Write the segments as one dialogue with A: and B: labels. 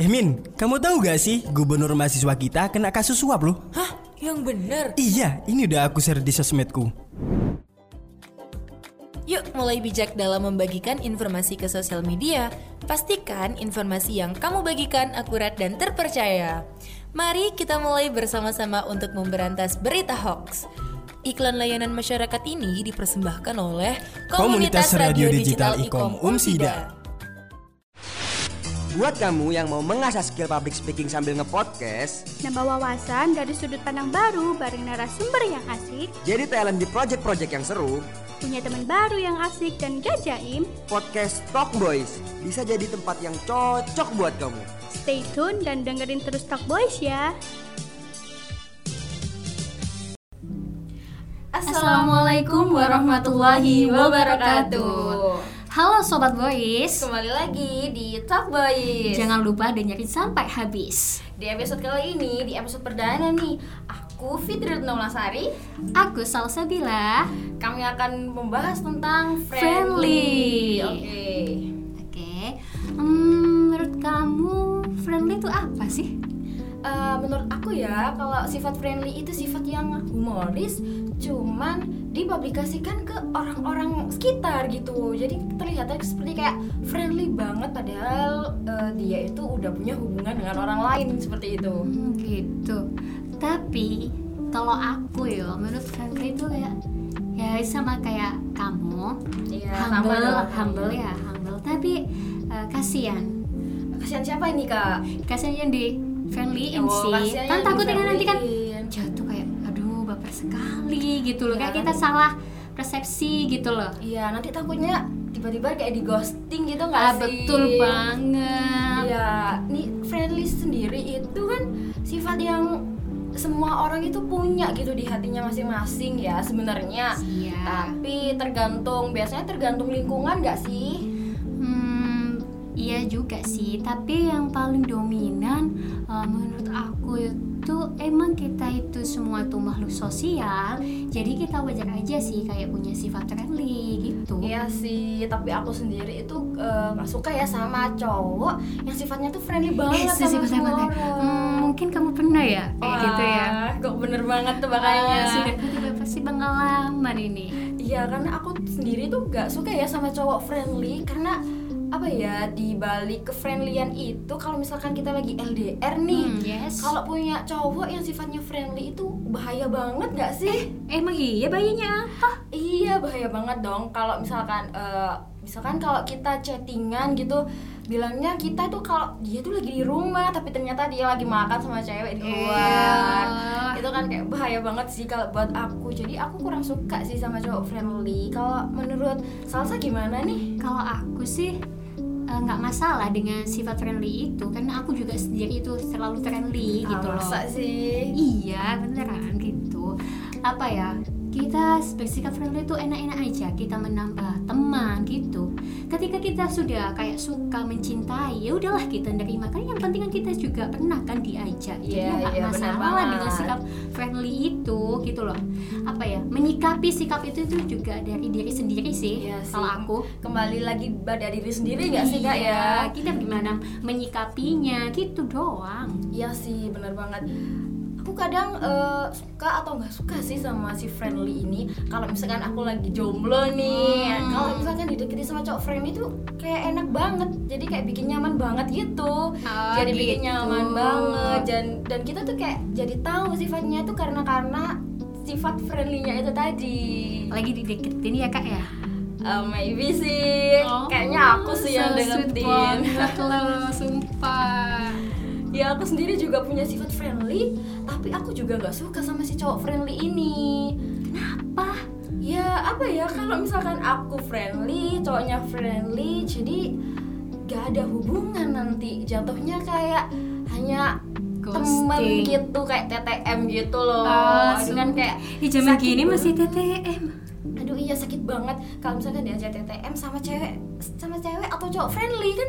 A: Eh Min, kamu tahu gak sih gubernur mahasiswa kita kena kasus suap loh?
B: Hah? Yang bener?
A: Iya, ini udah aku share di sosmedku.
B: Yuk mulai bijak dalam membagikan informasi ke sosial media. Pastikan informasi yang kamu bagikan akurat dan terpercaya. Mari kita mulai bersama-sama untuk memberantas berita hoax. Iklan layanan masyarakat ini dipersembahkan oleh
A: Komunitas Radio Digital Ikom Umsida.
C: Buat kamu yang mau mengasah skill public speaking sambil ngepodcast,
D: Nambah wawasan dari sudut pandang baru bareng narasumber yang asik,
C: jadi talent di project-project yang seru,
D: punya teman baru yang asik dan gajaim,
C: podcast Talk Boys bisa jadi tempat yang cocok buat kamu.
D: stay tune dan dengerin terus Talk Boys ya.
E: Assalamualaikum warahmatullahi wabarakatuh. Halo sobat boys.
F: Kembali lagi di Talk Boys.
E: Jangan lupa dengerin sampai habis.
F: Di episode kali ini, di episode perdana nih, aku Fitri Naulasari.
E: Aku Salsabila.
F: Kami akan membahas tentang
E: Friendly.
F: friendly. Oke.
E: Oke. Hmm, menurut kamu friendly itu apa sih?
F: Eh, menurut aku ya, kalau sifat friendly itu sifat yang humoris, cuman dipublikasikan ke orang-orang sekitar gitu. Jadi terlihatnya seperti kayak friendly banget, padahal eh, dia itu udah punya hubungan dengan orang lain seperti itu.
E: Hmm, gitu. Tapi kalau aku ya, menurut friendly itu kayak ya sama kayak kamu.
F: Iya,
E: humble,
F: dong.
E: humble ya, humble. Tapi eh, kasihan.
F: Kasihan siapa ini kak?
E: Kasihan yang di friendly
F: Oh,
E: sih.
F: kasihan
E: Kan
F: yang
E: takutnya kan nanti kan
F: difriendlyin.
E: jatuh kayak aduh baper sekali gitu loh
F: Iya.
E: kayak kita salah persepsi gitu loh
F: Iya, nanti takutnya tiba-tiba kayak di ghosting gitu nggak
E: ah,
F: sih?
E: betul banget
F: Iya, nih friendly sendiri itu kan sifat yang semua orang itu punya gitu di hatinya masing-masing ya sebenarnya.
E: Iya.
F: Tapi tergantung, biasanya tergantung lingkungan nggak sih?
E: hmm, iya juga sih tapi yang paling dominan eh, menurut aku itu emang kita itu semua tuh makhluk sosial jadi kita wajar aja sih kayak punya sifat friendly gitu
F: Iya sih, tapi aku sendiri itu eh, nggak suka ya sama cowok yang sifatnya tuh friendly
E: Eh,
F: banget
E: sih,
F: sama
E: sifat
F: semua
E: apa? Hmm, mungkin kamu pernah ya kayak gitu ya
F: Wah, Kok bener banget tuh makanya.
E: Ah, sudah tiba pasti pengalaman ini
F: Iya karena aku sendiri tuh gak suka ya sama cowok friendly karena apa ya di balik kefriendlyan itu kalau misalkan kita lagi LDR nih
E: Hmm, yes.
F: kalau punya cowok yang sifatnya friendly itu bahaya banget gak sih?
E: Emang iya bayinya apa?
F: Iya bahaya banget dong kalau misalkan eh, misalkan kalau kita chattingan gitu bilangnya kita tuh kalau dia tuh lagi di rumah tapi ternyata dia lagi makan sama cewek di luar
E: Iya.
F: itu kan kayak bahaya banget sih kalau buat aku jadi aku kurang suka sih sama cowok friendly kalau menurut salsa gimana nih
E: Kalau aku sih eh, nggak masalah dengan sifat friendly itu karena aku juga sendiri itu selalu friendly gitu
F: Ah,
E: loh.
F: masa sih
E: Iya beneran gitu. Apa ya? Kita bersikap friendly itu enak-enak aja. Kita menambah teman gitu. Ketika kita sudah kayak suka mencintai, ya udahlah kita nerima. Kan yang penting kan kita juga pernah kan diajak. Jadi
F: Iya,
E: ya nggak
F: iya, benar
E: masalah lah dengan
F: banget.
E: sikap friendly itu gitu loh. Apa ya? Menyikapi sikap itu itu juga dari diri sendiri sih.
F: Iya sih.
E: Kalau aku
F: kembali lagi pada diri sendiri nggak sih kak
E: Iya,
F: ya
E: Kita gimana menyikapinya gitu doang.
F: Iya sih, bener banget. Aku kadang eh, suka atau nggak suka sih sama si friendly ini. Kalau misalkan aku lagi jomblo nih,
E: Hmm.
F: kalau misalkan dideketin sama cowok friendly itu kayak enak banget. Jadi kayak bikin nyaman banget gitu.
E: Oh,
F: jadi bikin
E: gitu.
F: nyaman banget dan dan kita tuh kayak jadi tahu sifatnya tuh karena karena sifat friendly-nya itu tadi.
E: Lagi dideketin ya kak ya.
F: Eh, maybe sih.
E: Oh,
F: Kayaknya aku sih yang deketin.
E: lo, sumpah.
F: ya aku sendiri juga punya sifat friendly tapi aku juga nggak suka sama si cowok friendly ini
E: Pah,
F: ya apa ya kalau misalkan aku friendly cowoknya friendly jadi gak ada hubungan nanti jatuhnya kayak hanya temen
E: Ghosting.
F: gitu kayak TTM gitu loh
E: Ah,
F: Aduh, kan
E: sumpah.
F: kayak
E: di zaman
F: sakit
E: gini
F: banget.
E: masih
F: E
E: TTM.
F: aduh iya sakit banget kalau misalkan diajak TTM sama cewek sama cewek atau cowok friendly kan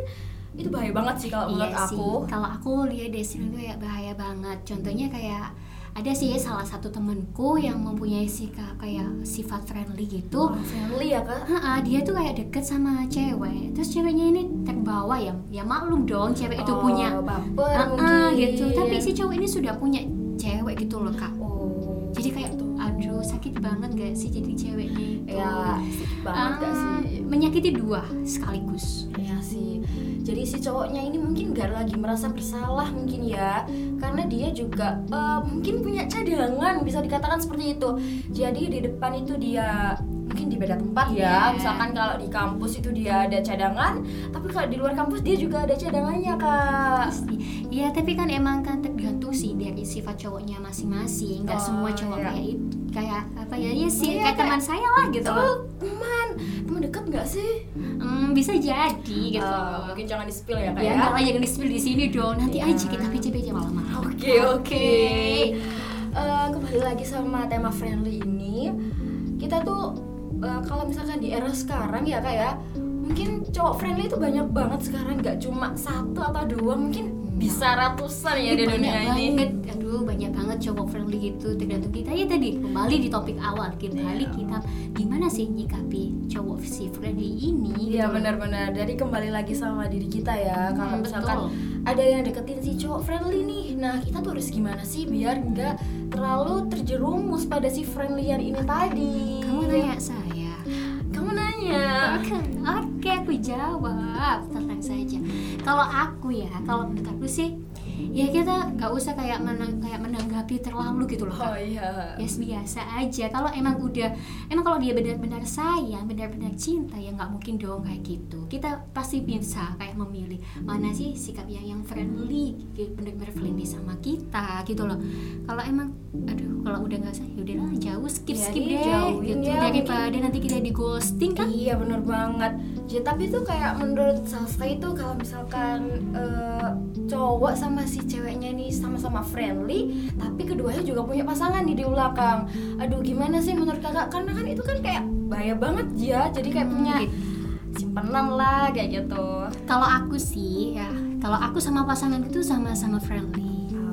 F: itu bahaya banget sih kalau menurut
E: iya
F: aku
E: sih. Kalau aku lihat dari sini tuh ya bahaya banget. Contohnya kayak ada sih salah satu temenku yang mempunyai sikap kayak sifat friendly gitu
F: friendly ya kak
E: Ha-ha, dia tuh kayak deket sama cewek terus ceweknya ini terbawa ya ya maklum dong cewek itu
F: Oh,
E: punya
F: baper
E: Ha-ha,
F: mungkin.
E: gitu tapi si cowok ini sudah punya cewek gitu loh kak
F: oh
E: jadi kayak aduh sakit banget gak sih jadi ceweknya itu
F: ya sedikit banget gak
E: Ah,
F: sih
E: menyakiti dua sekaligus
F: Iya sih. Jadi si cowoknya ini mungkin gak lagi merasa bersalah mungkin ya, karena dia juga eh, mungkin punya cadangan bisa dikatakan seperti itu. Jadi di depan itu dia mungkin di beda tempat ya.
E: Iya.
F: Misalkan kalau di kampus itu dia ada cadangan, tapi kalau di luar kampus dia juga ada cadangannya kak.
E: pasti ya tapi kan emang kan tergantung sih dari sifat cowoknya masing-masing nggak
F: Oh,
E: semua cowok
F: iya.
E: kayak itu kayak apa ya ya sih
F: Iya,
E: kayak teman saya lah gitu loh
F: Tuh teman, teman dekat nggak sih?
E: Hmm, bisa jadi gitu
F: Eh, mungkin jangan di spill ya kak
E: ya
F: ya.
E: malah yang di-spill di sini dong nanti
F: Iya.
E: aja kita PCP aja malam-malam
F: Oke oke. Eh, kembali lagi sama tema friendly ini, kita tuh eh, kalau misalkan di era sekarang ya kak ya, mungkin cowok friendly itu banyak banget sekarang, nggak cuma satu atau dua, mungkin bisa ratusan ya di
E: Ih, Iya, banyak
F: dunia ini.
E: banget. aduh banyak banget cowok friendly gitu tergantung kita ya tadi kembali di topik awal
F: Iya.
E: kembali kita gimana sih nyikapi cowok si friendly ini
F: Iya
E: gitu.
F: benar-benar. Jadi kembali lagi sama diri kita ya. Kalau
E: Hmm,
F: misalkan
E: betul.
F: ada yang deketin si cowok friendly nih, nah kita tuh harus gimana sih biar nggak terlalu terjerumus pada si friendlyan ini tadi.
E: kamu nanya saya
F: Kamu nanya.
E: Oke, oke aku jawab tenang saja. Kalau aku ya, kalau menurut aku sih, ya kita nggak usah kayak menang, kayak menanggapi terlalu gitu loh.
F: Oh
E: Kak.
F: iya.
E: Ya biasa aja. Kalau emang udah, emang kalau dia benar-benar sayang, benar-benar cinta, ya nggak mungkin dong kayak gitu. Kita pasti bisa kayak memilih mana sih sikap yang yang friendly, kayak benar-benar friendly sama kita gitu loh. Kalau emang, aduh, kalau udah nggak sayang, udahlah jauh skip
F: Ya,
E: skip deh.
F: dijauhin
E: Gitu.
F: ya,
E: Daripada nanti kita di ghosting kan?
F: Iya bener banget. Ya, tapi tuh kayak menurut Salsa itu kalau misalkan eh, cowok sama si ceweknya ini sama-sama friendly, tapi keduanya juga punya pasangan nih di belakang. Aduh gimana sih menurut kakak? Karena kan itu kan kayak bahaya banget ya. Jadi kayak punya
E: gitu.
F: simpenan lah kayak gitu.
E: kalau aku sih
F: Iya.
E: ya kalau aku sama pasangan itu sama-sama friendly ya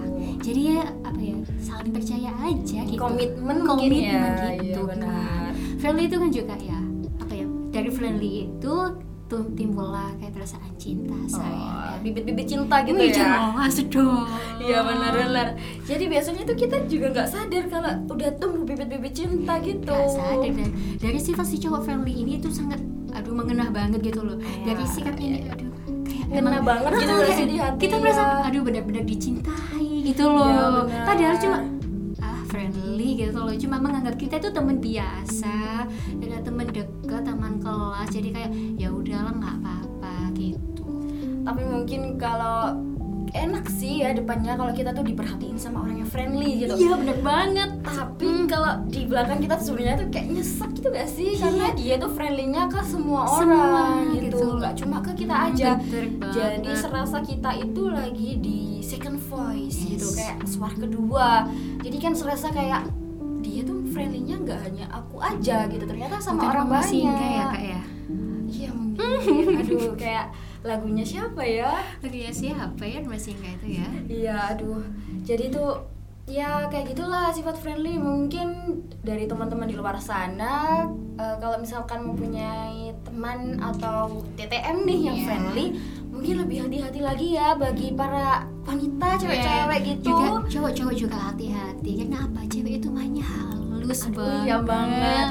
F: Oh.
E: jadi ya apa ya saling percaya aja gitu
F: Komitmen mungkin
E: komitmen
F: ya.
E: gitu
F: Iya, benar.
E: kan friendly itu kan juga ya apa ya dari friendly itu tuh timbullah kayak perasaan cinta
F: Oh,
E: sayang ya.
F: bibit-bibit cinta gitu
E: Wih,
F: ya.
E: jangan masuk dong Oh.
F: Iya benar-benar. Jadi biasanya tuh kita juga nggak sadar kalau udah tumbuh bibit-bibit cinta gitu.
E: Gak sadar dan dari sifat si cowok friendly ini itu sangat aduh mengena banget gitu loh
F: Iya,
E: dari sikapnya ini aduh kayak
F: Ngena
E: emang-
F: banget gitu
E: Ah,
F: nggak sih
E: kayak
F: di hati
E: kita
F: ya? Iya,
E: merasa aduh benar-benar dicintai gitu loh
F: benar.
E: padahal cuma ah friendly gitu loh cuma menganggap kita itu teman biasa ada teman dekat teman kelas jadi kayak ya udahlah nggak apa-apa gitu
F: Tapi mungkin kalau enak sih ya depannya kalau kita tuh diperhatiin sama orang yang friendly gitu.
E: iya bener banget Hmm.
F: Tapi kalau di belakang kita tuh sebenarnya tuh kayak nyesek gitu gak sih? Karena dia tuh friendly-nya ke semua
E: Iya. Semua
F: orang gitu.
E: gitu. Hmm,
F: Gak cuma ke kita aja.
E: bener banget.
F: Jadi serasa kita itu lagi di second voice gitu
E: Yes.
F: kayak suara kedua. Jadi kan serasa kayak dia tuh friendly-nya nggak hanya aku aja gitu. Ternyata sama
E: Bukan
F: orang
E: rumah
F: banyak.
E: singgah ya kak ya
F: Iya mungkin. Aduh kayak lagunya siapa ya?
E: oke ya siapa ya rumah singgah itu ya
F: Iya, aduh. Jadi tuh ya kayak gitulah sifat friendly mungkin dari teman-teman di luar sana eh, kalau misalkan mempunyai teman atau TTM nih yang
E: Iya.
F: friendly mungkin lebih hati-hati lagi ya bagi para wanita
E: Iya.
F: cewek-cewek gitu.
E: juga cowok-cowok juga hati-hati karena apa cewek itu mainnya halus banget
F: Iya banget.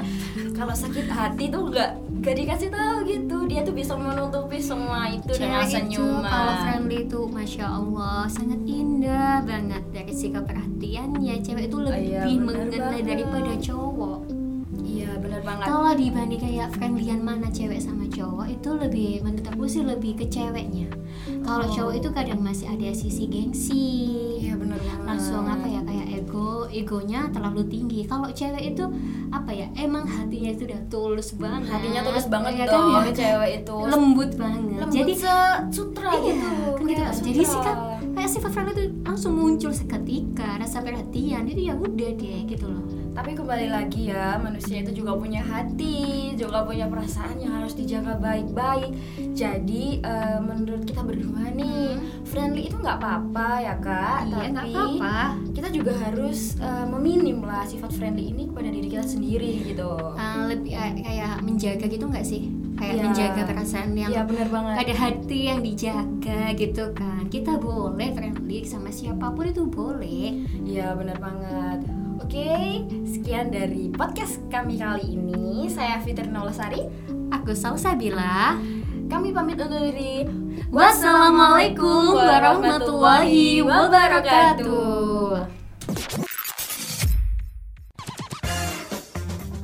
F: Kalau sakit hati tuh nggak nggak dikasih tahu gitu. Dia tuh bisa menutupi semua itu dengan
E: cewek itu
F: senyuman.
E: kalau friendly itu masya allah sangat indah banget dari sikap perhatiannya cewek itu lebih
F: Iya, bener
E: mengena
F: banget.
E: daripada cowok
F: Iya benar banget.
E: kalau dibanding kayak friendlyan mana cewek sama cowok itu lebih menurut aku sih lebih ke ceweknya kalau cowok itu kadang masih ada sisi gengsi
F: Oh. Iya benar banget.
E: langsung apa ya kayak ego egonya terlalu tinggi kalau cewek itu apa ya emang hatinya itu udah tulus banget
F: Hatinya tulus banget
E: ya
F: dong
E: kan ya?
F: cewek itu.
E: lembut banget
F: Lembut
E: jadi
F: sutra
E: iya,
F: gitu.
E: kan gitu kan. jadi sikap kayak sifat friendly itu langsung muncul seketika rasa perhatian itu ya udah deh gitu loh
F: Tapi kembali lagi ya, manusia itu juga punya hati, juga punya perasaan yang harus dijaga baik-baik. Jadi eh, menurut kita berdua nih, friendly itu nggak apa-apa ya kak.
E: Hmm. Iya, nggak
F: Tapi
E: apa-apa.
F: kita juga harus eh, meminim lah sifat friendly ini kepada diri kita sendiri gitu.
E: Ah, lebih eh, kayak menjaga gitu nggak sih kayak
F: Iya.
E: menjaga perasaan yang
F: Iya, benar banget.
E: ada hati yang dijaga gitu kan kita boleh friendly sama siapapun itu boleh
F: Iya benar banget. Oke, sekian dari podcast kami kali ini. Saya Fitri Nolasari.
E: aku Salsabila
F: Kami pamit undur diri.
E: wassalamualaikum warahmatullahi wabarakatuh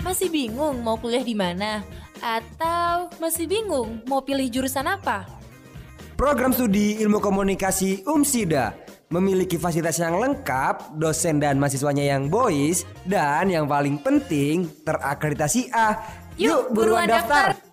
B: Masih bingung mau kuliah di mana? Atau masih bingung mau pilih jurusan apa?
C: Program studi Ilmu Komunikasi UMSIDA memiliki fasilitas yang lengkap, dosen dan mahasiswanya yang boys, dan yang paling penting terakreditasi A.
B: Yuk, buruan daftar.